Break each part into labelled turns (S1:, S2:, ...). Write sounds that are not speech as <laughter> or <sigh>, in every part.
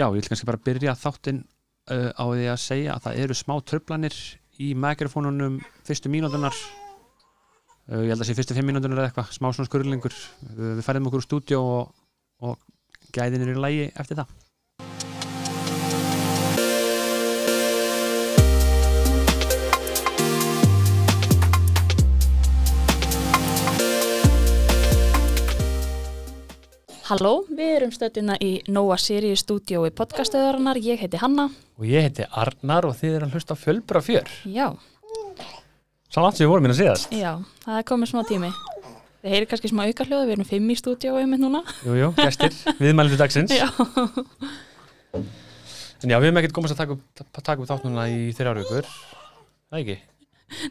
S1: Já, ég vil kannski bara byrja þáttinn uh, á því að segja að það eru smá tröflanir í mikrofónunum fyrstu mínútunar uh, ég held að sé fyrstu fimm mínútunar eða eitthvað smá svona skurlingur uh, við færðum okkur úr stúdíó og, og gæðin er í lægi eftir það
S2: Halló, við erum stöðuna í Nóa Sirius stúdiói podcastöðarinnar, ég heiti Hanna.
S3: Og ég heiti Arnar og þið eru að hlusta á fjölbra fjör.
S2: Já,
S3: Sá langt sem við vorum minna síðast.
S2: já, það er komið smá tími. Þið heyrir kannski smá auka hljóðu, við erum fimm í stúdiói með núna. <laughs>
S3: Jú, jú,
S1: <laughs>
S3: gestir, viðmælindu dagsins.
S2: Já.
S3: En já, við hefum ekkert komast að taka upp, að taka upp þátt núna í þrjár vikur. Það ekki?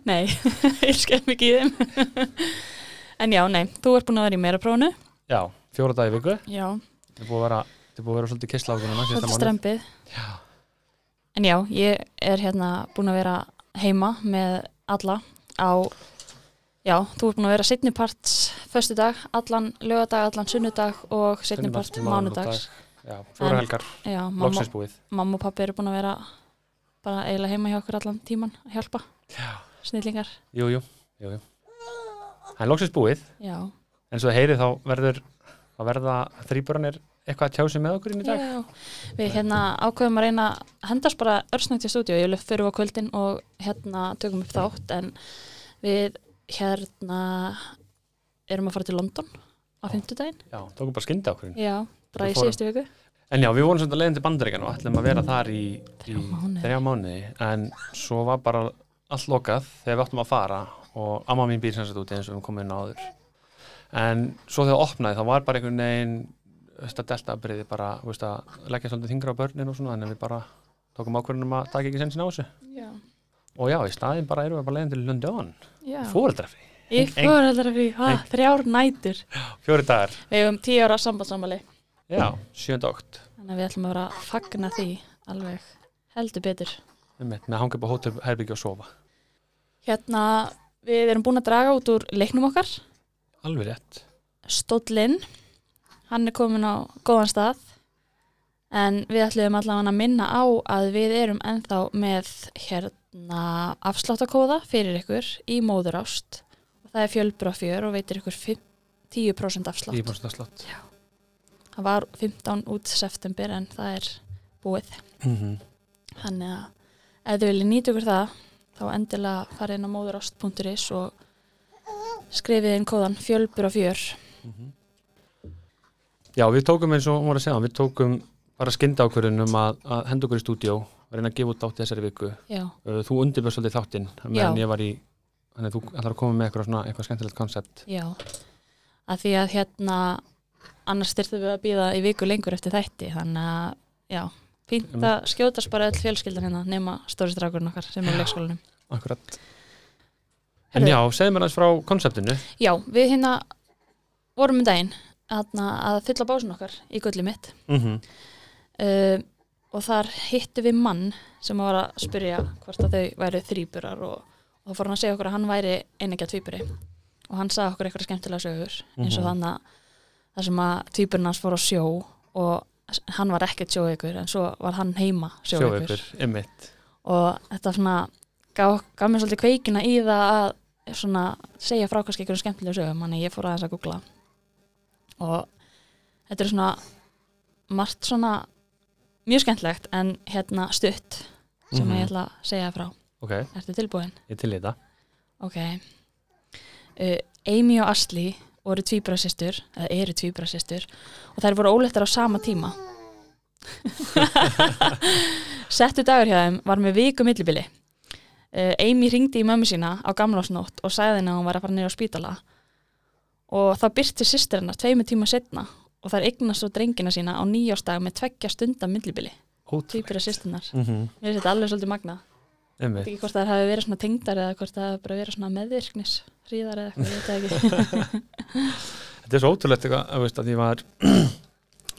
S2: Nei, <laughs> ég skef mikið í þeim. <laughs> en já, nei, þú ert búin að vera í meira prófunu.
S3: Já, fjóra dagi í viku.
S2: Já,
S3: Það er búið að vera, það er búið að vera svolítið kistla á okkur núna. síðasta mánuð.
S2: svolítið strempið.
S3: Já,
S2: En já, ég er hérna búin að vera heima með alla á... Já, þú ert búin að vera setniparts föstu dag, allan lögadag, allan sunnudag og setnipart
S3: sunnudagskvöld,
S2: mánudags.
S3: Já, fjóra
S2: En-
S3: helgar,
S2: Já, mamma,
S3: loksins búið.
S2: mamma og pappi eru búin að vera bara eiginlega heima hjá okkur allan tíman að hjálpa,
S3: Já,
S2: snillingar
S3: jú, jú, jú, jú. Það er loksins búið,
S2: já,
S3: en svo heyrið þá verður, þá verða þrýbörnir eitthvað að tjá sig með okkur inn í dag.
S2: já. við hérna ákveðum að reyna að hendast bara örsnögt í stúdíu, ég löf fyrir á kvöldin og hérna tökum upp þátt en við hérna erum að fara til London á fimmtudaginn,
S3: Já, tókum bara skynda okkur inn.
S2: já, bara
S3: Við
S2: í
S3: fórum.
S2: síðustu viku
S3: En já, við vorum svolítið að leiðin til bandaríkan og ætlum að vera þar í
S2: Mm. Þrjá
S3: í
S2: mánuði.
S3: þrjá mánuði en svo var bara allt lokað þegar við áttum að fara og amma mín býr sem sagt úti eins og við komum inn á áður en svo þegar það opnaði þá var bara einhvern veginn þetta deltabriði bara þú veist, að leggja svolítið þingra á börnin og svona þannig að við bara tókum ákvörðunum að taka ekki sensin á þessu
S2: já,
S3: og já, í staðin bara erum við bara leiðin til Lundjón
S2: já
S3: fóreldrafi,
S2: ég
S3: Eng-
S2: fór aldrei frí, ha,
S3: Eng-
S2: þrjár nætur
S3: fjóri dagar
S2: við hefum tíu ára sambandsamali
S3: já, 7. okt
S2: þannig að við ætlum að vera að fagna því alveg heldur betur
S3: með að hanga upp á hótelherbyggja og sofa
S2: Hérna, við erum búin að draga út úr leiknum okkar.
S3: alveg rétt
S2: Stóllinn, hann er komin á góðan stað. En við ætlum allavega að minna á að við erum ennþá með hérna afsláttakóða fyrir ykkur í móðurást. Það er fjölbrafjör og veitir ykkur fimm- 10% afslátt.
S3: 10% slott
S2: Það var 15 út september en það er búið.
S3: mm
S2: Þannig að ef þið viljið nýta ykkur það, þá endilega farið inn á móðurást.is og skrifið inn kóðan fjölbur og fjör.
S3: Mhm. Já, við tókum eins og hún var að segja, við tókum bara skynda ákvörðun um að, að henda okkur í stúdíó og reyna að gefa út þátt í þessari viku.
S2: Já,
S3: Uh, Þú undirbjörst svolítið þáttinn meðan
S2: Já.
S3: ég var í, þannig að þú ætlar að koma með eitthvað svona, eitthvað skemmtilegt koncept.
S2: já. Að því að hérna, annars þyrftum við að býða í viku lengur eftir þætti, þannig að, já, fínt að skjótast bara öll fjölskyldan hérna, nema stóri strákurinn okkar sem er á leikskólanum.
S3: Akkurat. En
S2: Herðu.
S3: já, segðu mér aðeins frá konceptinu.
S2: Já, við hérna vorum um daginn hérna, að fylla básun okkar í gulli mitt.
S3: Mm -hmm.
S2: uh, og þar hittu við mann sem var að spyrja hvort að þau væru þrýburar og, og þá fór hann að segja okkur að hann væri einnigja tvýburi og hann sagði okkur eitthvað skemmtilega sögur eins og
S3: Mhm.
S2: þannig að það sem að tvýburinn hans fór á sjó og s- hann var ekkert sjóveikur en svo var hann heima sjóveikur,
S3: Sjóveikur, ymmit.
S2: og þetta svona gaf, gaf mér svolítið kveikina í það að svona segja frá kannski einhverjum skemmtilega sögum þannig að ég fór aðeins að googla og þetta er svona margt svona mjög skemmtilegt en hérna stutt sem
S3: Mhm.
S2: ég ætla að segja frá
S3: Ok,
S2: Ertu tilbúin?
S3: ég til í þetta.
S2: Ok uh, Amy og Asli voru tvíbrasistur eða eru tvíbrasistur og þær voru óleittar á sama tíma Settu dagur hjá þeim var með viku millibili uh, Amy ringdi í mömmu sína á gamlásnótt og sagði henni að hún var að fara niður á spítala og þá byrti systir hennar tveimu tíma setna og þær eignast svo drengina sína á nýjástag með tveggja stunda millibili
S3: Ótrúlegt.
S2: tvíbrasisturnar
S3: Mm -hmm.
S2: Mér finnst þetta alveg svolítið magnað veit ekki hvort það hafi verið svona tengdar eða hvort það hafi bara verið svona meðvirknis hríðar eða eitthvað, ég veit það
S3: <laughs>
S2: ekki
S3: Þetta er svo ótrúlegt eitthvað, að veist, að því maður, <clears throat>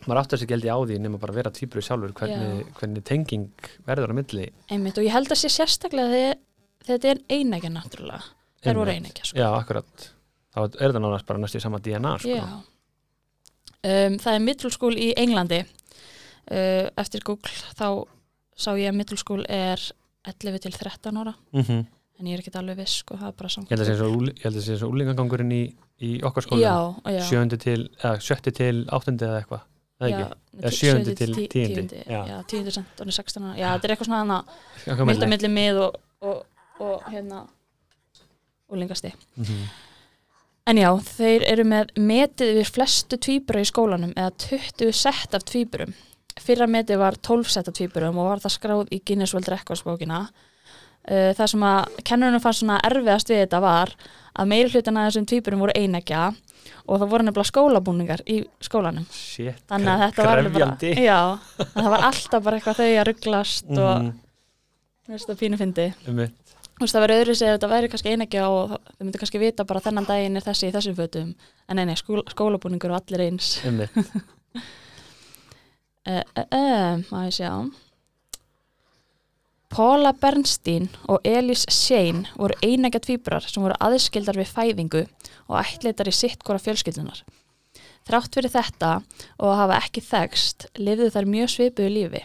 S3: maður aftur sér geldi á því nema bara að vera týpur sjálfur hvernig, hvernig tenging verður á milli.
S2: einmitt og ég held að sé sérstaklega þegar þetta er einægja náttúrulega þær voru
S3: Einmitt.
S2: einægja sko.
S3: Já, akkurat. Þá er það nánast sko. bara næstu í sama DNA, sko.
S2: Já. um, það er middle school í Englandi uh, eftir Google þá sá ég að middle school er 11 til 13 ára
S3: mm -hmm.
S2: en ég er ekki alveg viss sko, það er bara
S3: Ég held að það
S2: samkvæmt
S3: sé svo úl- ég held að það sé svo úlingangangurinn í, í okkar skóla
S2: já, já,
S3: sjöndi til, eða sjötti til áttundi eða eitthvað, eða
S2: já,
S3: ekki
S2: nei,
S3: Eða
S2: tí-
S3: sjöundi
S2: sjöundi
S3: til
S2: tí-
S3: tíundi, já.
S2: já. já, tíundi til 16 ára, já, þetta er eitthvað svona hana
S3: Eitthvað
S2: mitt á
S3: milli.
S2: milli mið og, og, og hérna og lengasti
S3: Mhm.
S2: en já, þeir eru með metið við flestu tvíbura í skólanum eða 20 sett af tvíburum fyrra metið var 12 sett af tvíburum og var það skráð í Guinness World Records bókina Uh, það sem að kennurinn fannst svona erfiðast við þetta var að meiri hlutin að þessum tvíburum voru einegja og það voru nefnilega skólabúningar í skólanum
S3: Shit,
S2: þannig að þetta var alveg bara,
S3: krefjandi.
S2: já, að það var alltaf bara eitthvað þau að rugglast mm -hmm.
S3: Mhm, Um
S2: og þú veist, það pínu fyndi
S3: einmitt.
S2: þú veist, það verður öðru segja að þetta væri kannski einegja og þau myndu kannski vita bara þennan daginn er þessi í þessum fötum en nei, nei, skóla, skólabúningur og allir eins
S3: einmitt
S2: uh, uh, uh, má ég sjá Paula Bernstein og Elise Shane voru einegja tvíburar sem voru aðskildar við fæðingu og ættleitar í sitt hvora fjölskyldunar þrátt fyrir þetta og að hafa ekki þekst lifðu þær mjög svipuðu lífi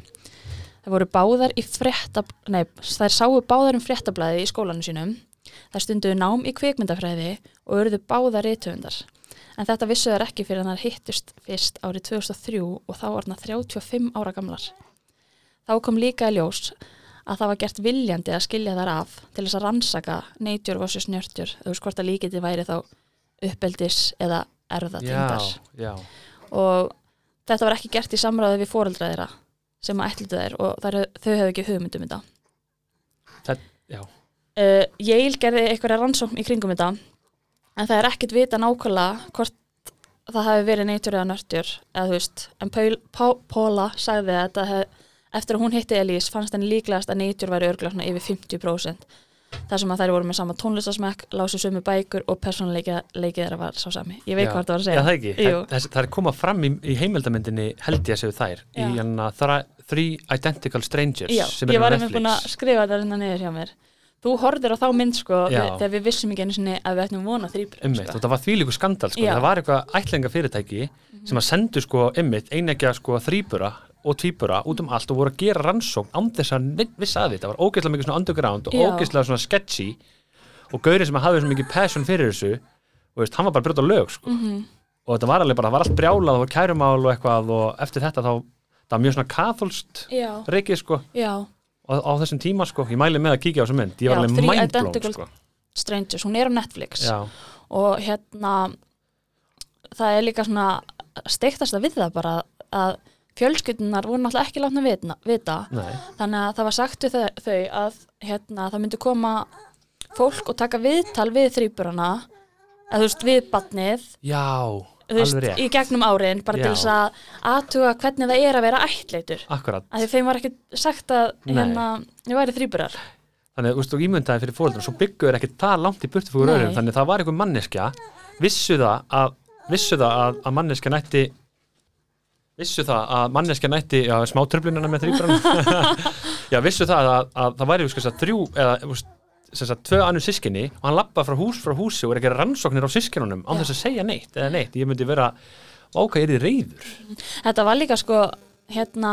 S2: þær voru báðar í frétta nei, þær sáu báðar um fréttablaði í skólanum sínum þær stunduðu nám í kvikmyndafræði og urðu báðar reytöfundar en þetta vissu þær ekki fyrir en þær hittust fyrst árið 2003 og þá var hann 35 ára gamlar. Þá kom líka í ljós að það var gert viljandi að skilja þær af til þess að rannsaka neitjur versus njörtjur, þú veist hvort að líkiti væri þá uppeldis eða
S3: já,
S2: erðatengdar
S3: já,
S2: og þetta var ekki gert í samræði við foreldra þeirra sem að ætlutu þeir og þær, þau hefðu ekki hugmyndum þetta.
S3: Það- já.
S2: Uh, Yale gerði einhverja rannsókn í kringum þetta en það er ekkert vita nákvæmlega hvort það hafi verið neytur eða nörtjur eða þú veist, en Paul, Pá, Paula sagði að þetta hef, eftir að hún hitti Elís fannst henni líklegast að neytur væri örglega svona yfir 50% þar sem að þær voru með sama tónlistasmekk, lásu sömu bækur og persónuleikið þeirra var sá sami. Ég veit
S3: Já.
S2: hvað þetta var að
S3: já,
S2: segja.
S3: það ekki
S2: Jú.
S3: það, það er koma fram í, í heimildamindinni held ég að séu þær í
S2: Já.
S3: hana þra, Three Identical Strangers
S2: Já,
S3: sem
S2: ég
S3: er á
S2: var einmitt búin að
S3: Netflix
S2: skrifa þetta hérna niður hjá mér Þú horfir á þá mynd sko
S3: Já.
S2: við- þegar við vissum ekki einu sinni að við ættum vona þrýburum
S3: Einmitt, og
S2: sko.
S3: það var þvílíku skandal sko.
S2: Já.
S3: það var eitthvað ætlinga fyrirtæki sem að sendu sko einmitt einegja sko þrýbura og tvíbura út um allt og voru að gera rannsókn án þess að neinn vissi að því það var ógeðslega mikið svona underground og
S2: Já.
S3: ógeðslega svona sketchy og gaurið sem hafði svo mikið passion fyrir þessu og veist, hann var bara að brjóta lög sko.
S2: Mhm.
S3: og þetta var alveg bara, það var allt brjálað og kærumál og eitthvað og eftir þetta þá það var mjög svona katholst
S2: Já,
S3: reikið sko
S2: já,
S3: á, á þessum tíma sko, ég mæli með að kíkja á þessum mynd ég var
S2: Já,
S3: alveg
S2: Three
S3: mindblown
S2: Identical-
S3: sko.
S2: Strangers, hún er á Netflix
S3: Já,
S2: og hérna það er líka svona steiktasta við það bara að fjölskyldunar voru náttúrulega ekki látna vitna, vita
S3: nei,
S2: þannig að það var sagt við þau- þau að hérna, það myndi koma fólk og taka viðtal við þrýburana eða þú veist við batnið
S3: já,
S2: þú veist,
S3: alveg rétt
S2: í gegnum árin bara
S3: Já.
S2: til þess að aðtuga hvernig það er að vera ættleitur
S3: akkurat
S2: af því þeim var ekki sagt að
S3: Nei.
S2: hérna, ég væri þrýburar
S3: þannig að, þú veist, og ímyndaði fyrir fóröldunum svo byggu er ekkert það langt í burtu fyrir
S2: Nei.
S3: öðrum þannig að það var einhver manneskja vissu það að vissu það að, að manneskja nætti vissu það að manneskja nætti já, smá tröflunina með þrýbrann <laughs> já, vissu það að, að það væri sko, þrjú, eða, þú veist, sem sagt, tvö annur sískinni og hann lappa frá hús frá húsi og er ekki rannsóknir á sískinunum án
S2: Já.
S3: þess að segja neitt eða neitt, ég myndi vera ákvað er þið reyður
S2: þetta var líka sko hérna,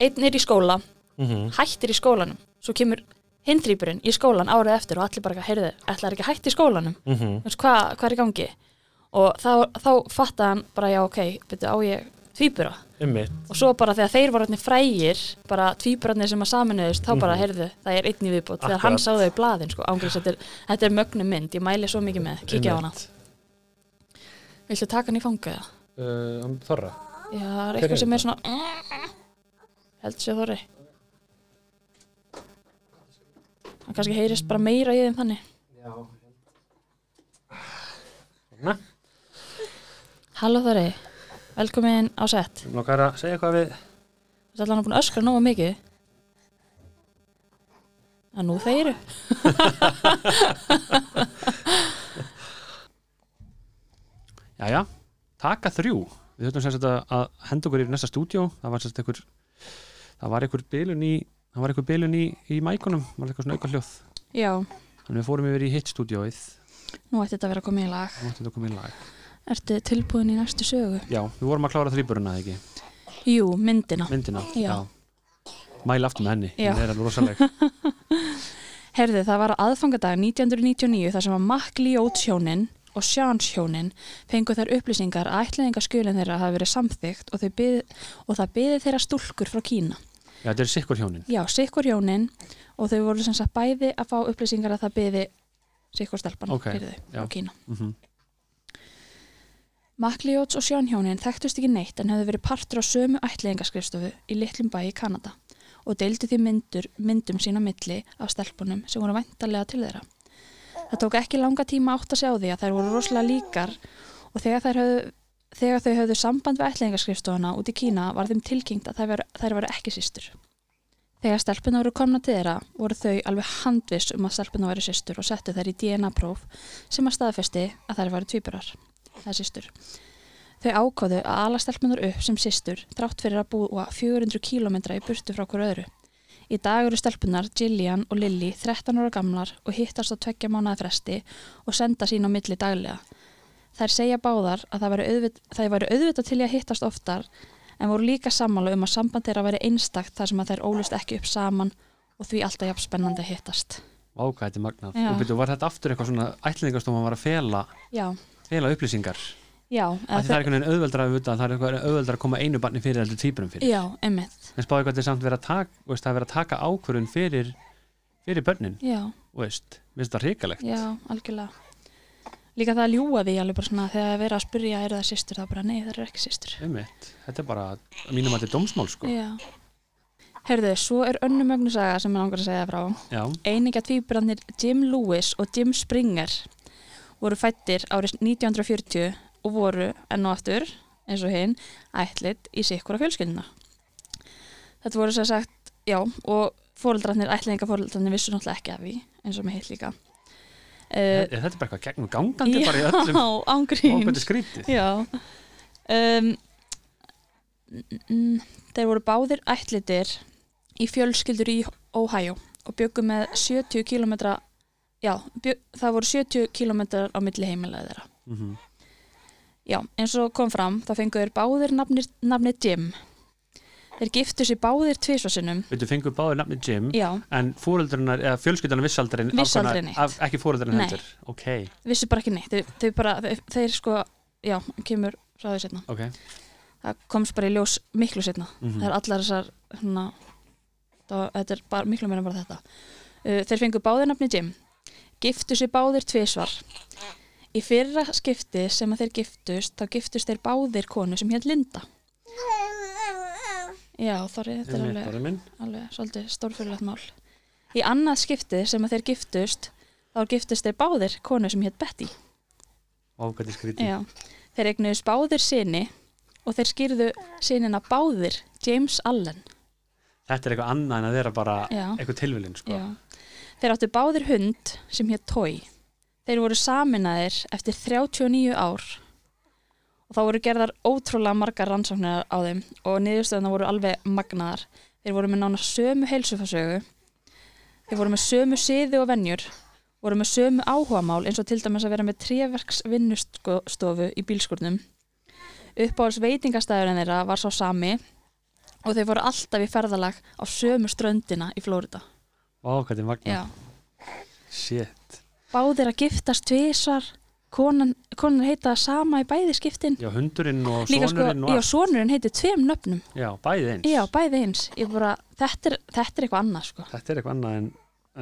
S2: einn er í skóla
S3: Mhm.
S2: hættir í skólanum svo kemur hinn þrýburinn í skólan árið eftir og allir bara heyrðu, ætlar ekki að hætti í skólanum
S3: Mhm.
S2: Þú veist, hvað hva er í gangi og þá, þá fatta hann bara já ok, betur á ég tvíbura
S3: Einmitt.
S2: og svo bara þegar þeir voru orðnir frægir bara tvíbrarnir sem að saminuðust þá bara, heyrðu, það er einn í viðbót þegar hann
S3: Mhm. Akkurat.
S2: sá þau í blaðin, sko, ángriðs þetta, er- þetta er mögnum mynd, ég mæli svo mikið með kíkja á hana,
S3: Einmitt.
S2: viltu taka hann í fanga það?
S3: uh, hann Þorra
S2: Já, það er
S3: Hver er
S2: eitthvað sem er svona held sér þorri hann kannski heyrist bara meira í þeim þannig
S3: Svona.
S2: Halló þorri, velkomin á sett
S3: nokkar að segja eitthvað við
S2: Þetta er allan að búin að öskra nóga mikið að nú þeir
S4: Jæja, taka þrjú Við höfum sem sagt að, að henda okkur yfir næsta stúdíó Það var sem sagt einhver Það var einhver bilun í Það var einhver bilun í, í mækunum Það var eitthvað svona auka hljóð
S2: Já,
S4: Þannig við fórum yfir í hitt stúdíóið Það
S2: nú ætti þetta að vera komið í lag
S4: mátti þetta komið í lag
S2: Ertu tilbúin í næstu sögu?
S4: Já, við vorum að klára þrýburuna ekki
S2: Jú, myndina.
S3: myndina
S2: Já.
S3: mæla aftur með henni,
S2: Já.
S3: hún er alveg rosaleg
S2: Herði, það var á aðfangadag 1999 þar sem að Mac Ljót hjónin og Sjans hjónin fengu þær upplýsingar að ætliðingaskjölinn þeirra hafi verið samþygt og, þau bið, og það byði þeirra stúlkur frá Kína.
S3: já, þetta er sikkur hjónin
S2: Já, sikkur hjónin og þau voru sem sagt bæði að fá upplýsingar að það byði sikkur stelpan
S3: Ok,
S2: fyrir þau
S3: já.
S2: frá Kína.
S3: mm
S2: Makliots og Sjónhjónin þekktust ekki neitt en hefðu verið partur á sömu ætliðingaskrifstofu í litlum bæ í Kanada og deildu því myndur, myndum sína milli af stelpunum sem voru væntarlega til þeirra. Það tók ekki langa tíma að átta sig á því að þær voru rosalega líkar og þegar, þær höfðu, þegar þau höfðu samband við ætliðingaskrifstofuna út í Kína var þeim tilkynnt að þær veru, þær veru ekki systur. Þegar stelpuna voru komna til þeirra voru þau alveg handviss um að stelpuna væri systur og settu þær í DNA-próf sem að staðfesti að þær væri tvíburar, eða systur. Þau ákváðu að ala stelpunar upp sem systur þrátt fyrir að búa 400 km í burtu frá hver öðru. Í dag eru stelpunar Gillian og Lilly 13 ára gamlar og hittast á tveggja mánaða fresti og senda sín á milli daglega. Þær segja báðar að það væri auðvit- þær væri auðvitað til í að hittast oftar en voru líka sammála um að samband þeirra væri einstakt þar sem að þær ólust ekki upp saman og því alltaf jafn spennandi að hittast.
S3: váka, þetta er magnað
S2: Já.
S3: og byrju, var þetta aftur eitthvað svona ætlingarstofan var að fela,
S2: Já,
S3: fela upplýsingar
S2: já.
S3: af því það er einhvern veginn auðveldra að vita það er eitthvað auðveldra að koma einu barni fyrir heldur týpurum fyrir
S2: Já, emmitt.
S3: en spáði hvað þetta er samt verið að taka, þú veist, það er verið að taka ákvörun fyrir, fyrir börnin
S2: Já.
S3: þú veist, minnst það hrikalegt
S2: Já, algjörlega. Líka það að ljúa því alveg bara svona þegar að vera að spyrja er það sýstur þá bara nei það er ekki sýstur.
S3: Einmitt. þetta er bara, að mínum að þetta er dómsmál sko.
S2: Já. Herðu, svo er önnu mögnusaga sem ég langar að segja frá.
S3: já,
S2: Einingja tvíburarnir Jim Lewis og Jim Springer voru fættir árið 1940 og voru enn og aftur, eins og hinn, ætlit í sikkura fjölskyldina. Þetta voru sér sagt, já, og fóreldrarnir, ætlinga fóreldrarnir vissu náttúrulega ekki af því, eins og með hitt líka. Uh,
S3: Er þetta er bara eitthvað gegnum gangandi bara í öllum
S2: <laughs> Já, ángrín.
S3: ákvöldu skrítið
S2: Já. Um, mm, mm, þeir voru báðir ætlitir í fjölskyldur í Ohio og byggu með 70 km já, bjö, það voru 70 km á milli heimilega þeirra.
S3: mm
S2: Já, eins og kom fram, þá fengu þeir báðir nafni, nafni Jim. Þeir giftu sér báðir tvisvarsinnum.
S3: Við fengum báðir nafni Jim
S2: Já,
S3: en fóröldurinnar, eða fjölskyldunar vissaldurinn
S2: Vissaldarinn eitt.
S3: af, ekki fóröldurinnar
S2: Nei.
S3: heldur ok,
S2: vissu bara ekki neitt. Þeir, þeir bara, þeir, þeir sko, já, kemur frá því setna.
S3: ok
S2: Það komst bara í ljós miklu setna.
S3: mm
S2: það er allar þessar hérna, það, þetta er bara, miklu meira en bara þetta uh, þeir fengu báðir nafni Jim giftu sér báðir tvisvar í fyrra skipti sem að þeir giftust þá giftust þeir báðir konu sem hér Linda já Þorri, þetta er alveg,
S3: minn
S2: alveg svolítið stórfyrirlegt mál í annað skipti sem að þeir giftust þá giftust þeir báðir konu sem hér Betty
S3: ákvöldu skrítið
S2: já. þeir eignuðist báðir sinni og þeir skýrðu sinina báðir James Allen
S3: þetta er eitthvað annað en að vera bara
S2: já.
S3: eitthvað tilvilinn sko.
S2: Já. Þeir áttu báðir hund sem hér Toy. Þeir voru saminaðir eftir 39 ár og þá voru gerðar ótrúlega margar rannsóknir á þeim og niðurstöðuna voru alveg magnaðar. Þeir voru með nána sömu heilsufarsögu, þeir voru með sömu siði og venjur, voru með sömu áhugamál eins og til dæmis að vera með tréverks vinnustofu í bílskurnum. Uppáhalds veitingastæðurinn þeirra var sá sami og þeir voru alltaf í ferðalag á sömu ströndina í Flórida.
S3: ákvöldu magna,
S2: Já.
S3: shit
S2: báðir að giftast tvisvar konan, konan heita sama í bæði skiptin
S3: já, hundurinn og
S2: líka sko,
S3: sonurinn og
S2: já,
S3: allt.
S2: sonurinn heiti tveim nöfnum
S3: já, bæðið eins
S2: já, bæði eins, ég bara þetta er, þetta er eitthvað annað sko
S3: þetta er eitthvað annað en,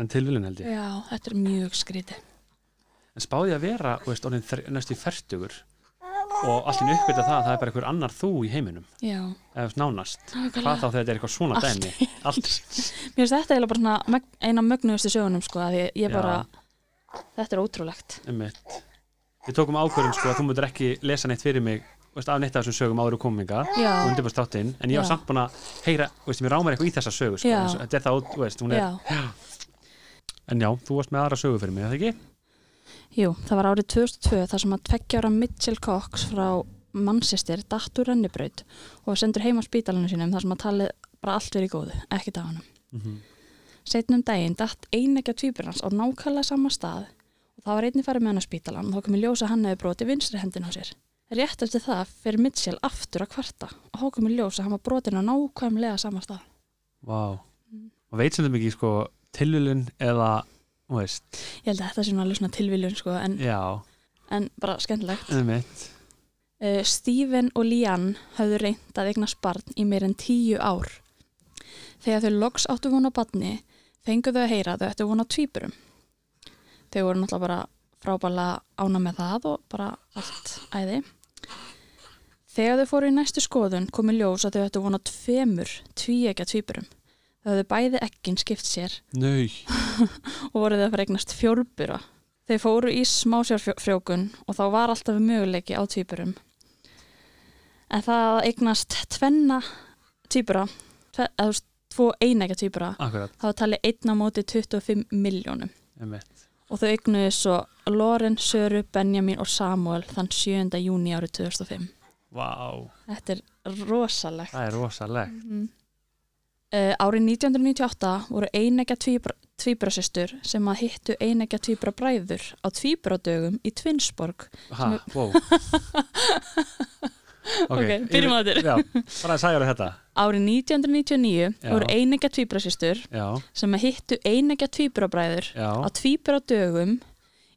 S3: en tilvilinn held ég
S2: já, þetta er mjög skríti Mm.
S3: en spáði að vera, þú veist, orðin þr- næstu í fertugur og allt inn uppbyrta það að það er bara einhver annar þú í heiminum
S2: já,
S3: eða nánast, hvað
S2: nákvæmlega
S3: þá þegar þetta er eitthvað svona
S2: Allt.
S3: dæmi allt,
S2: mér finnst þetta eiginlega bara svona meg- eina mögnuðustu sögunum sko að ég, ég
S3: Já.
S2: bara, þetta er ótrúlegt
S3: einmitt við tókum ákvörðum sko að þú mútur ekki lesa neitt fyrir mig þú veist, af neitt af þessum sögum áður kominga
S2: Já.
S3: og undirbúst áttinn, en ég var
S2: Já.
S3: samt búin að heyra, þú veist, mér rámar eitthvað í þessa sögu sko,
S2: Já.
S3: eins og- þetta er það, þú veist, hún er
S2: já
S3: en já, þú varst með aðra sögu fyrir mig, er það ekki?
S2: Jú, það var árið 2002 þar sem að tveggjára Mitchell Cox frá mannsistir datt úr rennibraut og var sendur heim á spítalunum sínum þar sem að talið bara allt verið í góðu, ekkert af honum.
S3: Mm -hmm.
S2: Setnum daginn datt einegja tvíburans á nákvæmlega sama stað og það var einnig farið með hann á spítalan og þá kom í ljós að hann hefði brotið vinstri hendin á sér Rétt eftir það fer Mitchell aftur að kvarta og hókum í ljós að hann var brotin á nákvæmlega sama stað.
S3: Vá,
S2: Mm.
S3: maður veit sem þetta mikið sko tilvölin eða, þú veist,
S2: Ég held að þetta sé nú alveg svona tilviljun sko, en,
S3: já,
S2: en bara skemmtilegt.
S3: eða mitt,
S2: Uh, Stephen og Lian hafðu reynt að eignast barn í meir en tíu ár. Þegar þau loks áttu vona barni, fengu þau að heyra að þau ættu vona tvíburum. Þau voru náttúrulega bara frábælega ána með það og bara allt æði. Þegar þau fóru í næstu skoðun komi ljós að þau ættu vona tveimur tvíegja tvíburum. Þau hafðu bæði ekkin skipt sér
S3: nöy,
S2: og voru þau að fara að eignast fjórbura. Þeir fóru í smásjárfrjókun og þá var alltaf möguleiki á tvíburum. En það að eignast tvenna tvíbura, tve, eða þú veist, tvo einægja tvíbura,
S3: akkurat,
S2: þá tali einn á móti 25 miljónum.
S3: eða mitt,
S2: Og þau eignuðu svo Loren, Söru, Benjamin og Samuel þann 7. júni árið 2005.
S3: vá,
S2: Þetta er rosalegt.
S3: það er rosalegt,
S2: Mm. Uh, árið 1998 voru einegja tvíbrasystur sem að hittu einegja tvíbrabræður á tvíbradögum í Tvinsborg.
S3: ha,
S2: <laughs>
S3: wow,
S2: Ok, byrjum á þér.
S3: Já, bara að sæja þetta,
S2: Árið 1999
S3: Já.
S2: voru einegja tvíbrasystur
S3: já,
S2: sem að hittu einegja tvíbrabræður
S3: já,
S2: á tvíbradögum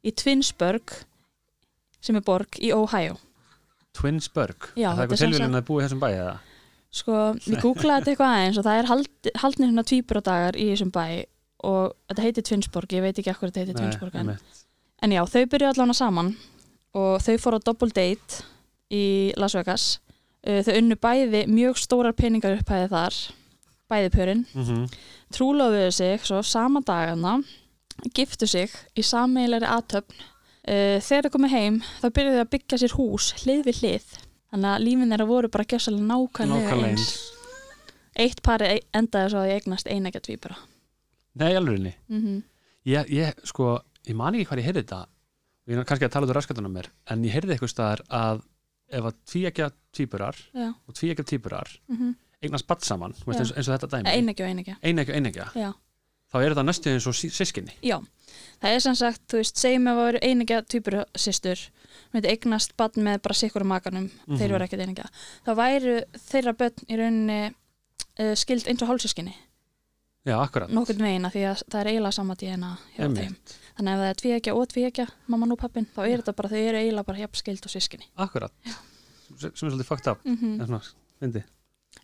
S2: í Tvinsborg sem er borg í Ohio.
S3: Twinsburg,
S2: Já,
S3: er það
S2: þetta er
S3: eitthvað
S2: sem
S3: tilvölin að búa í þessum bæ eða,
S2: Sko, við googlaði þetta eitthvað aðeins og það er hald, haldnir svona tvíbradagar í þessum bæ og þetta heitir Tvinsborg, ég veit ekki akkur þetta heitir Tvinsborg en
S3: einmitt.
S2: En já, þau byrjuðu allan að saman og þau fóru á double date í Las Vegas. Uh, Þau unnu bæði mjög stórar peningar upphæði þar, bæði pörin.
S3: Mhm.
S2: Trúlóðuðu sig svo sama dagana, giftu sig í sameilegri aðtöfn. Uh, Þegar þau komu heim, þá byrjuðu þau að byggja sér hús hlið við hlið. Þannig að lífin þeirra voru bara gjössalega nákvæmlega,
S3: Nákvæmlega
S2: eins. Eitt pari endaði svo að ég eignast einægja tvíbara.
S3: Nei, alveg,
S2: Mm
S3: ég, ég, sko, ég man ekki hvað ég heyrði þetta ég er kannski að tala út á raskatunum mér en ég heyrði eitthvað staðar að ef að tvíekja tvíburar
S2: Já.
S3: og tvíekja tvíburar
S2: Mm -hmm.
S3: eignast batt saman, þú veist,
S2: Já.
S3: eins, eins og þetta dæmi
S2: Einægja Eh, og einægja.
S3: einegja, einegja,
S2: Já.
S3: þá er þetta næstu eins og sí- sískinni
S2: Já, það er sem sagt, þú veist, segjum ef að vera einingja týpur sýstur, myndi eignast barn með bara sikkur makanum,
S3: Mhm.
S2: þeir voru ekkert einingja. Þá væru þeirra börn í rauninni uh, skild eins og hálsískinni,
S3: já, akkurat,
S2: nokkurn veginna, því að það er eiginlega saman DNA hjá
S3: Einmitt.
S2: þeim. Þannig að ef það er tvíegja og tvíegja, mamman og pappin, þá er þetta bara, þau eru eiginlega bara jafn skild og sískinni.
S3: akkurat sem sem er svolítið fucked up
S2: Mm.
S3: en svona, fyndi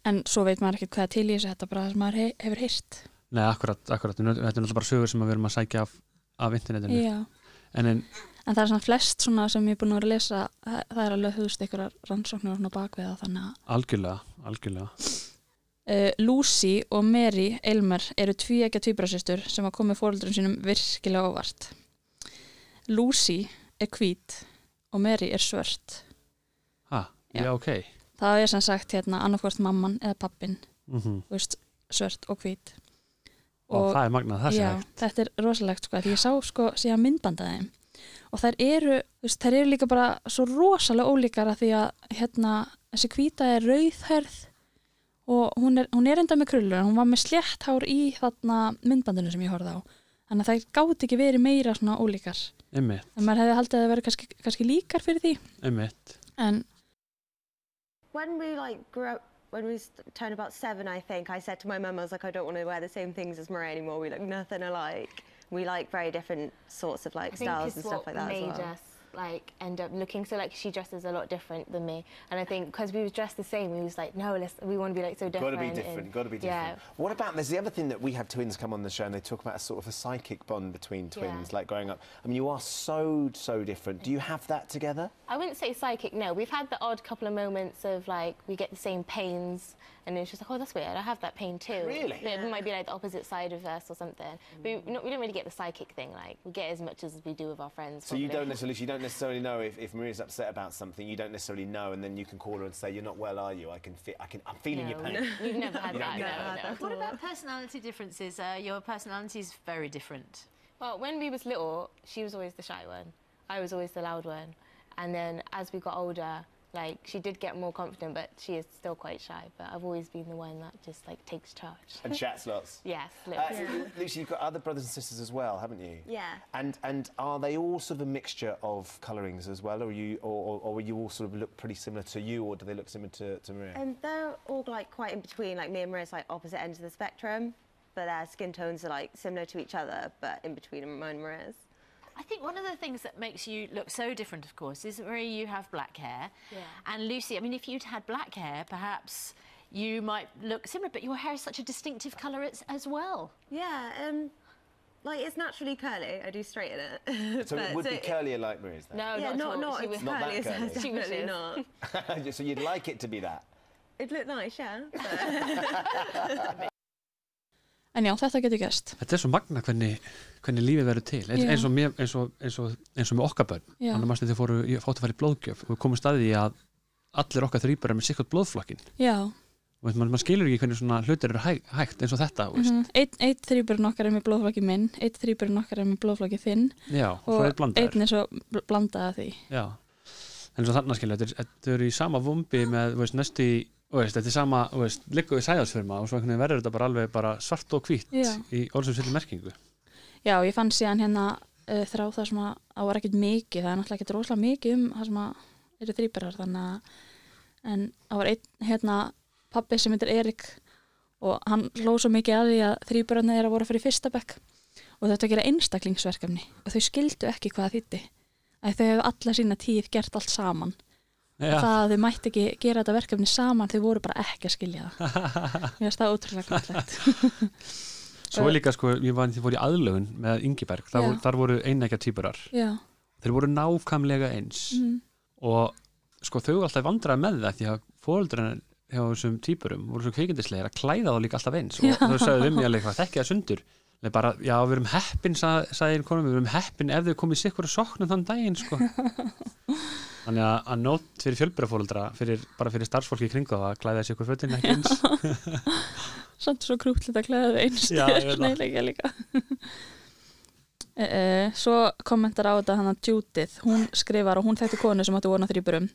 S2: En svo veit maður ekkert hvað er til í þessu, þetta er bara það sem maður he hefur heyrt.
S3: Nei, akkurat, akkurat, þetta er náttúrulega bara sögur sem við erum að sækja af, af internetinu
S2: Já.
S3: en, en
S2: En það er svona flest svona sem ég er búin að vera að lesa, það það er alveg höfust ykkur rannsóknir og svona bakviða þannig að
S3: algjörlega, algjörlega
S2: Uh, Lucy og Mary Elmer eru tvíegja tvíbrasystur sem að komið fóröldrum sínum virkilega óvart. Lucy er hvít og Mary er svört.
S3: ha, já.
S2: Já.
S3: ok
S2: Það er sem sagt hérna annarkvort mamman eða pappin,
S3: mm
S2: þú veist, svört og hvít.
S3: og, það er magnað, það sé
S2: já,
S3: hægt
S2: þetta er rosalegt sko, því ég sá sko síðan myndbanda þeim. Og þær eru, þú veist, þær eru líka bara svo rosalega ólíkar að því að hérna, þessi hvíta er rauðherð og hún er, hún er enda með krullur en hún var með slétt hár í þarna myndbandinu sem ég horfði á. Þannig að þær gátt ekki verið meira svona ólíkar.
S3: einmitt,
S2: En maður hefði haldið að það verið kannski, kannski líkar fyrir því.
S3: einmitt
S2: En
S5: When we like grew up, when we st- turned about seven, I think, I said to my mum, I was like, I don't want to wear the same things as Maria anymore. We look nothing alike. We like very different sorts of like
S6: I think
S5: styles
S6: it's
S5: and
S6: what
S5: stuff like that as
S6: made
S5: well.
S6: us like end up looking so like she dresses a lot different than me, and I think because we were dressed the same, we was like, no, let's we want to be like so
S7: Got
S6: different.
S7: to be different.
S6: and-
S7: Got to be
S6: Yeah.
S7: different. What about there's the other thing that we have twins come on the show and they talk about a sort of a psychic bond between
S6: Yeah.
S7: twins, like growing up. I mean, you are so so different. Do you have that together?
S6: I wouldn't say psychic. No, we've had the odd couple of moments of like we get the same pains, and it's just like, oh, that's weird. I have that pain too.
S7: Really?
S6: Yeah, we might be like the opposite side of us or something.
S5: Mm.
S6: We no, we don't really get the psychic thing. Like we get as much as we do with our friends.
S7: So you
S6: probably.
S7: don't necessarily you don't necessarily know if, if Maria's upset about something. You don't necessarily know, and then you can call her and say, "You're not well, are you? I can feel I can I'm feeling your
S6: No, <laughs>
S7: pain."
S6: We've never
S7: <laughs>
S6: had that.
S7: don't
S6: No,
S7: get that.
S6: no.
S8: What about personality differences? Uh, your personality is very different.
S6: Well, when we was little, she was always the shy one. I was always the loud one. And then as we got older, Like she did get more confident, but she is still quite shy. But I've always been the one that just like takes charge.
S7: And chats lots.
S6: Yes,
S7: Uh,
S6: literally.
S7: Lucy, you've got other brothers and sisters as well, haven't you?
S5: Yeah.
S7: And and are they all sort of a mixture of colourings as well, or you or, or, or you all sort of look pretty similar to you, or do they look similar to, to Maria?
S5: Um, they're all like quite in between. Like me and Maria's like opposite ends of the spectrum, but their skin tones are like similar to each other, but in between mine and Maria's.
S8: I think one of the things that makes you look so different, of course, is Marie, you have black hair.
S6: Yeah.
S8: And Lucy, I mean, if you'd had black hair, perhaps you might look similar, but your hair is such a distinctive colour it's, as well.
S5: Yeah. Um, like it's naturally curly. I do straighten it.
S6: <laughs>
S7: so it
S5: but-
S7: would
S5: so
S7: be curlier like Maria's then.
S6: no,
S5: Yeah,
S6: not,
S5: not
S6: at all.
S5: not
S6: She
S5: as
S6: was-
S7: Not that
S5: curly as
S7: curly.
S5: hers,
S6: She
S5: <laughs>
S6: was
S5: definitely
S6: just-
S5: not.
S7: <laughs> so you'd like it to be
S5: <laughs>
S7: that. <laughs>
S5: It'd look nice, yeah. But <laughs>
S2: En já, þetta getur gerst.
S3: Þetta er svo magna hvernig, hvernig lífið verður til eins,
S2: Já.
S3: eins, og mér, eins, og, eins, og, eins og með okkar börn
S2: Já.
S3: þannig að þau fóru, ég fóttu að fara í blóðgjöf og við komum staðið í að allir okkar þrýbara með sikkert blóðflokkin
S2: Já.
S3: og maður man skilur ekki hvernig svona hlutir eru hæ, hægt eins og þetta mm
S2: Mhm. Einn ein þrýburinn okkar er með blóðflokki minn, einn þrýburinn okkar er með blóðflokki þinn
S3: já, og svo
S2: Mhm. og
S3: er blandaður
S2: einn er svo bl- blandað af því.
S3: já. en svo þannig að skilja, þetta er- þetta eru í sama vumbi með, þú veist, næstu í þú veist, þetta er sama, þú veist, liggur við sæðarsfirma og svo einhvern veginn verður þetta bara alveg bara svart og hvít
S2: Já.
S3: í orðsum sérli merkingu
S2: Já, ég fann síðan hérna uh, þrá það sem að það var ekkert mikið, það er náttúrulega ekkert rosalega mikið um það sem að eru þrýberar þannig að en það var einn hérna pappi sem heitir Erik og hann hló svo mikið að því að þrýberarna þeirra voru að fara í fyrsta bekk og þetta að gera einstaklingsverkefni og þau skildu ekki hvað það þýtti að þau hefðu alla sína tíð gert allt saman
S3: já,
S2: það að þau mætti ekki gera þetta verkefni saman þau voru bara ekki að skilja
S3: <laughs>
S2: það mér finnst það ótrúlega gott
S3: svo er líka sko, ég var því fór í aðlöfun með Ingiberg, þar,
S2: Já.
S3: voru, þar voru einnækja týpurar
S2: Já,
S3: þeir voru nákvæmlega eins
S2: mm.
S3: og sko þau voru alltaf vandrað með það því að fóröldurinn hjá þessum týpurum voru svo kvikindislegir að klæða þá líka alltaf eins og þau sagði um ég alveg hvað þekki það sundur Nei, bara, já, við erum heppin, sa- sagði einn konum, við erum heppin ef þau komið sikkur að soknum þann daginn, sko.
S2: <laughs>
S3: Þannig að, að nótt fyrir fjölbyrjafóreldra, fyrir, bara fyrir starfsfólki í kringu það að klæða sikkur fötin ekki eins.
S2: samt svo krútlegt að klæða þau eins
S3: Já, ég veit það.
S2: snæðlega líka <laughs> e, e, svo kommentar á þetta hann að Judith hún skrifar og hún þekkti konu sem átti vona þrýburum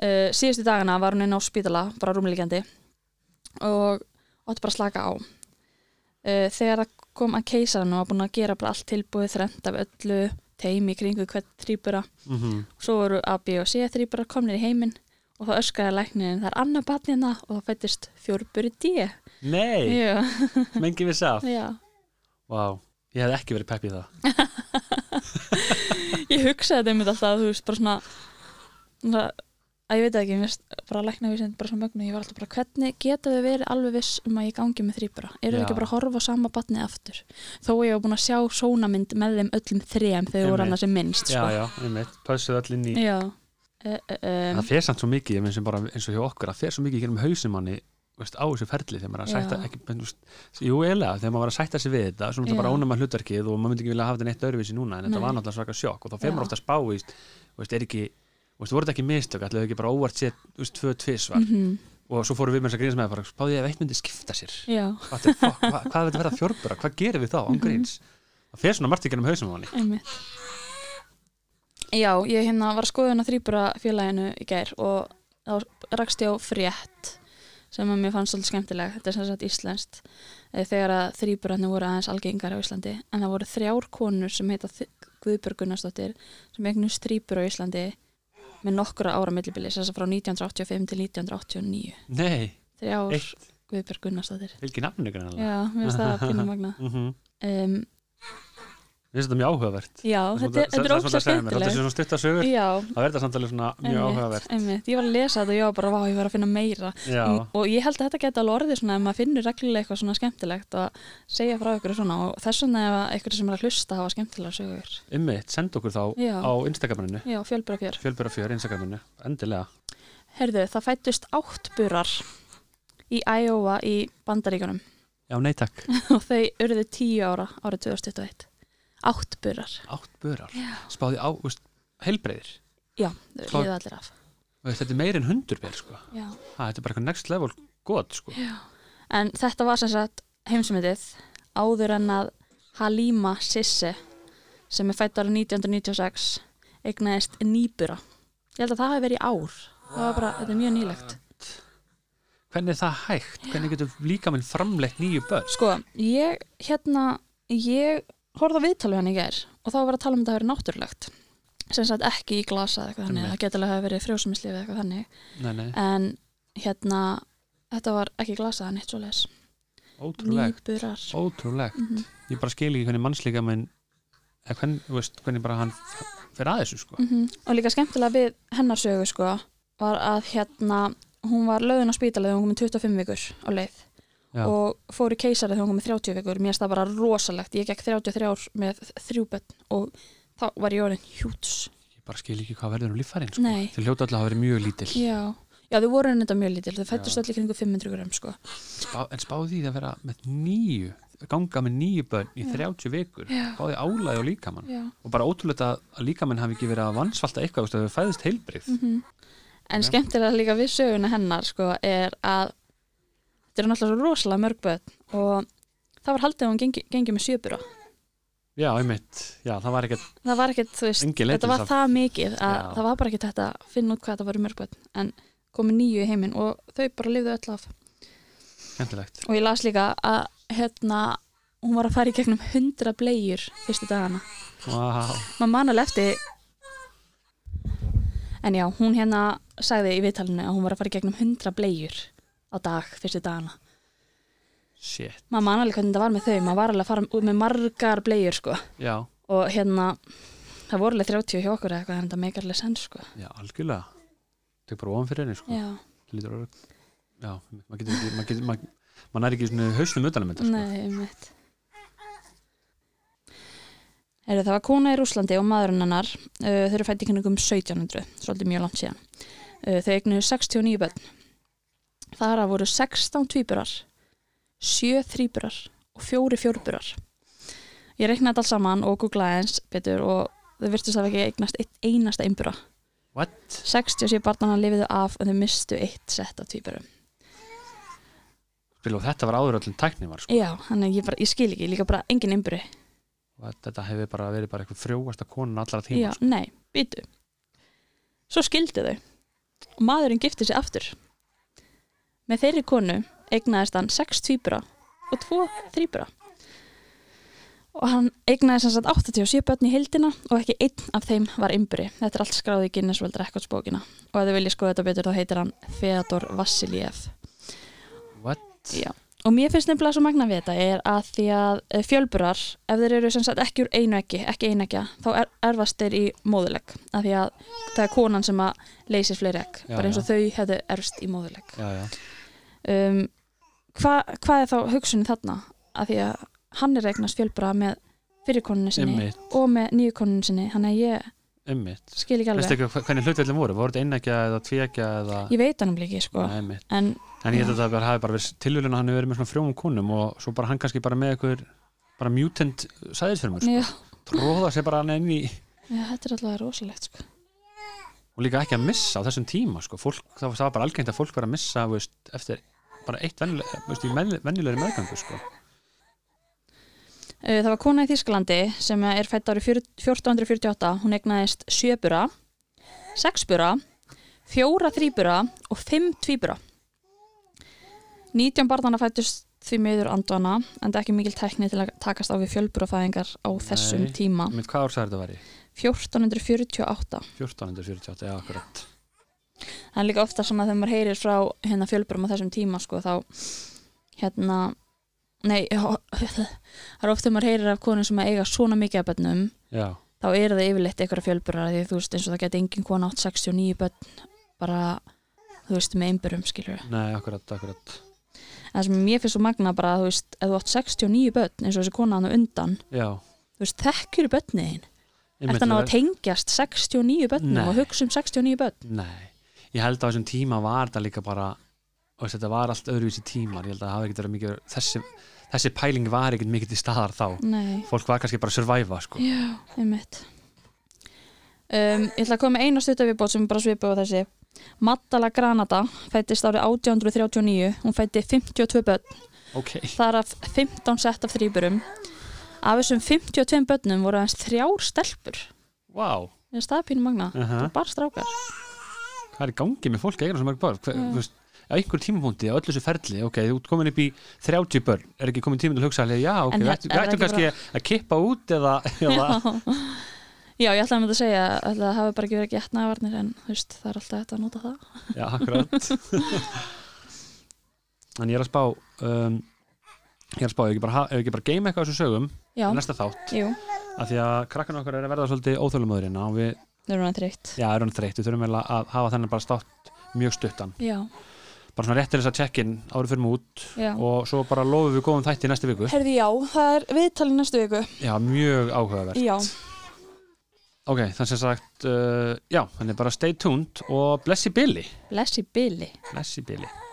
S2: e, síðustu dagana var hún inn á spítala bara rúmlíkjandi og átti bara að slaka á e, þegar það kom að keisarinn og var búin að gera bara allt tilbúið þrennt af öllu teimi í kringu hvert þrýbura
S3: Mm
S2: svo voru A, B og C þrýbura komnir í heiminn og þá öskraði læknirinn það er annað batnina og það fættist fjórburi D
S3: Nei,
S2: Já,
S3: mengi við sá. Vá,
S2: já.
S3: ég hef ekki verið pepp í það.
S2: Ég hugsaði þetta einmitt alltaf, þú veist, bara svona, svona að ég veit það ekki, mér finnst bara lækna við sem bara svona mögnu, ég var alltaf bara, hvernig geta þau verið alveg viss um að ég gangi með þrýbara? Eru þau
S3: Já.
S2: ekki bara að horfa á sama batnið aftur? Þó ég var búin að sjá sónamynd með þeim öllum þrejum þegar þau voru
S3: Einmitt.
S2: annars sem minnst,
S3: Já,
S2: sko.
S3: já, einmitt, pössuð öll inn í
S2: Já. Uh, uh,
S3: En það fer samt svo mikið, ég menn sem bara eins og hjá okkur, það fer svo mikið í gerum hausumanni veist, á þessu ferli þegar maður er að
S2: Já.
S3: sætta ekki, menn, veist, jú, eiginlega, þegar maður var að sætta sig við þetta, svona
S2: Já.
S3: það bara ónum að hlutverkið og maður myndi ekki vilja hafa þetta neitt öðruvísi núna, en
S2: Nei.
S3: þetta var náttúrulega svaka sjokk og þá
S2: Já.
S3: fer maður ofta að spá, veist, veist, er ekki, veist, voru þetta ekki mistök, ætlaðu ekki bara óvart sér, veist, tvö tvisvar
S2: Mm. mhm,
S3: og svo fórum við með þess að grínast með það bara, spáði ég ef eitt myndi skipta sér,
S2: já,
S3: What the fuck, hva, hvað verður verða fjórbura, hvað gerum við þá,
S2: Mhm.
S3: án gríns? Það fer svona margt í gegnum hausinn á manni.
S2: einmitt. Já, ég hérna var að skoða hérna þrýbara félaginu í gær og þá rakst ég á frétt sem að mér fannst svolítið skemmtileg, þetta er sem sagt íslenskt, eh, þegar að þrýburarnir voru aðeins algengar á Íslandi, en það voru þrjár konur sem heita Þi- Guðbjörg Gunnarsdóttir sem eignust þrýbur á Íslandi með nokkura ára millibili, sem þess að frá 1985 til 1989.
S3: Nei,
S2: Þrjár
S3: eitt,
S2: Guðbjörg Gunnarsdóttir.
S3: fylgir nafninu greinlega.
S2: Já, mér
S3: <laughs>
S2: finnst það pínum magna.
S3: Mhm.
S2: Um,
S3: Mér finnst þetta mjög áhugavert.
S2: já, þetta, er- þetta er ógst að
S3: Þetta er
S2: skemmtileg.
S3: svona stuttar sögur
S2: Já,
S3: Það verður þetta samtalið svona mjög
S2: Einmitt,
S3: áhugavert
S2: einmitt. Ég var að lesa þetta og ég var bara, vá, ég var að finna meira.
S3: Já,
S2: Mm, Og ég held að þetta geta alveg orðið svona ef maður finnur reglulega eitthvað svona skemmtilegt og segja frá ykkur svona og þess vegna ef að ykkur sem er að hlusta hafa skemmtilega sögur.
S3: ymmið, senda okkur þá
S2: Já.
S3: á Instagraminu
S2: Já, fjölbyrja fjör.
S3: Fjölbyrra fjör Instagraminu, endilega
S2: Herðu, það fættust áttburar í Iowa í Bandaríkunum
S3: Já, nei takk,
S2: <laughs> og þau urðu tíu ára árið 2021. Áttburar.
S3: átt börar Spáði á, veist, heilbreyðir
S2: Já,
S3: Klár.
S2: þau liða allir af.
S3: veist, Þetta er meir en hundurbér, sko
S2: Já.
S3: ha, Þetta er bara eitthvað next level gott, sko
S2: En þetta var sem sagt heimsmyndið áður en að Halima Sisse sem er fætt ára 1996 eignaðist nýbura Ég held að það hafi verið í ár. Það var bara, þetta er mjög nýlegt.
S3: Hvernig er það hægt? Hvernig getur líka minn framleitt nýju börn?
S2: Sko, ég, hérna, ég horfði á viðtal við hann í gær og þá var að tala um þetta að vera náttúrulegt. Sem sagt ekki í glasa eða eitthvað þannig,
S3: Einmitt.
S2: það getur alveg að hafa verið frjósumisli eða eitthvað þannig.
S3: Nei, nei,
S2: En hérna, þetta var ekki í glasa, neitt svo les.
S3: ótrúlegt,
S2: Nýburar.
S3: ótrúlegt.
S2: Mhm.
S3: Ég bara skil ekki hvernig mannslíka minn, eða hvernig, þú veist, hvernig bara hann f- fer að þessu, sko.
S2: -hmm. Og líka skemmtilega við hennar sögu sko var að hérna hún var löðin á spítalið þegar hún komið 25 vikur á leið
S3: Já.
S2: og fór í keisarið þegar hún komið 30 vikur mér finnst það bara rosalegt, ég gekk 33 ár með þrjú börn og þá var ég orðin hjúts
S3: Ég bara skil ekki hvað verður um líffærin, sko.
S2: Nei.
S3: Þeir hljóta alltaf að vera mjög lítil.
S2: Já, já þau voru þetta mjög lítil þau fættust allir kringu 500 gram sko
S3: Spá, en spáði því að vera með nýju, ganga með nýju börn í 30 vikur.
S2: Já.
S3: Spáði álæði á líkamann.
S2: já.
S3: Og bara ótrúlegt að, að líkamann hafi ekki verið að vansvalta eitthvað, þú veist, að þau fæðist heilbrið.
S2: Mhm. En
S3: Já.
S2: skemmtilega líka við söguna hennar sko, er að þetta eru náttúrulega svo rosalega mörg börn og það var haldið að hún gengi, gengi með sjöbura
S3: Já, einmitt. Já, það var ekkert
S2: það var ekkert, þú veist,
S3: Engin leið
S2: þetta
S3: til
S2: var
S3: þess að-
S2: það mikið að
S3: Já.
S2: það var bara ekkert þetta að finna út hvað þetta voru mörgböld en komi nýju í heiminn og þau bara lifðu öll af
S3: skemmtilegt.
S2: og ég las líka að hérna hún var að fara í gegnum hundra blegjur fyrstu dagana,
S3: Vá.
S2: maður man alveg eftir en já, hún hérna sagði í viðtalinu að hún var að fara í gegnum hundra blegjur á dag fyrstu dagana
S3: Shit.
S2: maður man alveg hvernig þetta var með þau maður var alveg að fara út með margar blegjur sko.
S3: Já,
S2: og hérna það voru alveg 30 hjá okkur eða eitthvað en þetta meikar alveg sens sko.
S3: já, algjörlega. Þetta er bara ofan fyrir henni, sko.
S2: já,
S3: Lítur orð. Já, maður getur ekki, maður getur, maður, maður er ekki svona hausnum utanum þetta, sko.
S2: Nei, mitt. Heru, það var kona í Rúslandi og maðurinn hennar, uh, þau eru fætt í kynningum 1700, svolítið mjög langt síðan. Uh, þau eignuðu 69 börn. Þar að voru 16 tvíburar, 7 þrýburar og 4 fjórburar. Ég reiknaði þetta alls saman og googlaði eins betur og þau virtust að ekki eignast eitt einasta einbura.
S3: What?
S2: 67 barnana lifiðu af og þau mistu eitt sett af tvíburum.
S3: Spil og þetta var áður öllum tækni var, sko.
S2: Já, þannig að ég, bara, ég skil ekki, líka bara engin einburi.
S3: Og Þetta hefur bara verið bara eitthvað frjóasta konan allra
S2: Já,
S3: tíma, sko.
S2: nei, býtu Svo skildu þau og maðurinn gifti sig aftur Með þeirri konu eignaðist hann sex tvíbura og tvo þrýbura og hann eignaði sem sagt 87 börn í hildina og ekki einn af þeim var ymbri. Þetta er allt skráð í Guinness World Records bókina og ef þau vilja skoða þetta betur þá heitir hann Feodor Vassiliev
S3: sko. What?
S2: Já. Og mér finnst nefnilega svo magna við þetta er að því að eh, fjölburar, ef þeir eru sem sagt ekki úr einu ekki, ekki einegja, þá er, erfast þeir í móðuleg. Af því að það er konan sem að leysir fleiri ekk,
S3: Já,
S2: bara eins og þau hefðu erfst í móðuleg.
S3: Já, já.
S2: Um, hva, hvað er þá hugsunin þarna? Af því að hann er eignast fjölbura með fyrirkoninu sinni
S3: Einmitt,
S2: og með nýju koninu sinni, hann að ég
S3: einmitt.
S2: skil ekki
S3: Veistu
S2: alveg.
S3: ekki hvernig hlutveldin voru? Voru þetta einnækja eða tvíækja eða...
S2: Ég veit hann um líki, sko.
S3: Nei, einmitt.
S2: En
S3: En ég held að það bara hafi bara verið tilvölin að hann hefur verið með svona frjóum konum og svo bara hann kannski bara með eitthvað bara mutant sæðisförmur
S2: já,
S3: sko. tróða sér bara hann inn í
S2: já, þetta er alltaf rosalegt, sko.
S3: og líka ekki að missa á þessum tíma sko. fólk, það var- það var bara algengt að fólk verið að missa þú veist, eftir bara eitt venjuleg, veist, í menn- venjulegri meðgangu sko.
S2: Uh, Það var kona í Þísklandi sem er fætt árið 40 1448. Hún egnaðist sjöbura, sexbura, fjóra þrýbura og fimm tvíbura. 19 barnana fættust því miður andvana en það er ekki mikil tækni til að takast á við fjölburafæðingar á þessum
S3: Nei.
S2: tíma.
S3: Mynd, hvað ár sagði þetta væri?
S2: 1448.
S3: 1448, já, akkurat
S2: Það er líka ofta svona þegar maður heyrir frá hérna fjölburum á þessum tíma sko þá hérna nei, <laughs> það er ofta maður heyrir af konum sem að eiga svona mikið af bönnum
S3: já,
S2: þá eru það yfirleitt einhverja fjölburar því þú veist eins og það geti engin kona átt 69 börn bara þú veist með einbörum skilur
S3: nei, akkurat, akkurat
S2: en það sem mér finnst svo magna bara þú veist ef þú átt 69 börn eins og þessi kona hann undan
S3: já,
S2: þú veist þekkjur börniðin
S3: einmitt,
S2: eftir að ná að
S3: það-
S2: tengjast 69 börnum
S3: Nei.
S2: og hugsa um 69 börn
S3: Nei, ég held að á þessum tíma var þetta líka bara þú veist, þetta var allt öðruvísi tímar ég held að það hafi ekki verið mikið þessi, þessi pæling var ekkert mikið til staðar þá
S2: nei,
S3: fólk var kannski bara að survive sko.
S2: já, einmitt um, ég ætla að koma með eina stuttafibót sem er bara svipa á þessi Maddala Granada fættist árið 1839 hún fætti 52 börn
S3: ok,
S2: þar af 15 sett af þrýburum af þessum 52 börnum voru aðeins þrjár stelpur
S3: wow
S2: Mér finnst það er pínu magna,
S3: uh
S2: bara strákar
S3: hvað er í gangi með fólk að eigna svo mörg börn Hver, þú veist, á einhverjum tímapunkti á öllu þessu ferli ok, þú ert komin upp í 30 börn er ekki komin tíma til að hugsa alveg, já, ok,
S2: En
S3: við
S2: er-
S3: ættum- við
S2: er það
S3: ættum
S2: ekki
S3: kannski að kippa út eða,
S2: <laughs>
S3: eða
S2: Já, ég ætlaði að mynda að segja að það hafi bara ekki verið gett nævarnir en þú veist, það er alltaf hægt að nota það.
S3: Já,
S2: <laughs>
S3: akkurat En ég er að spá um, Ég er að spá, ef ekki bara, ha- ef ekki bara game eitthvað af þessu sögum
S2: Já,
S3: í næsta þátt,
S2: jú,
S3: af því að krakkan okkar er að verða svolítið óþjóðlumöðurinn og við,
S2: það er hann þreytt.
S3: já, erum þreytt, við þurfum eiginlega að hafa þennan bara státt mjög stuttan
S2: Já,
S3: bara svona rétt til þess að check-in árið fyrir mút
S2: já.
S3: og svo bara lofum við góðum þætti í næstu viku
S2: Herði, já, það er viðtalið næstu viku.
S3: Já, mjög áhugavert
S2: Já,
S3: Ok, þannig sem sagt, uh, já, þannig bara stay tuned og blessi Billy
S2: blessi Billy.
S3: Blessi Billy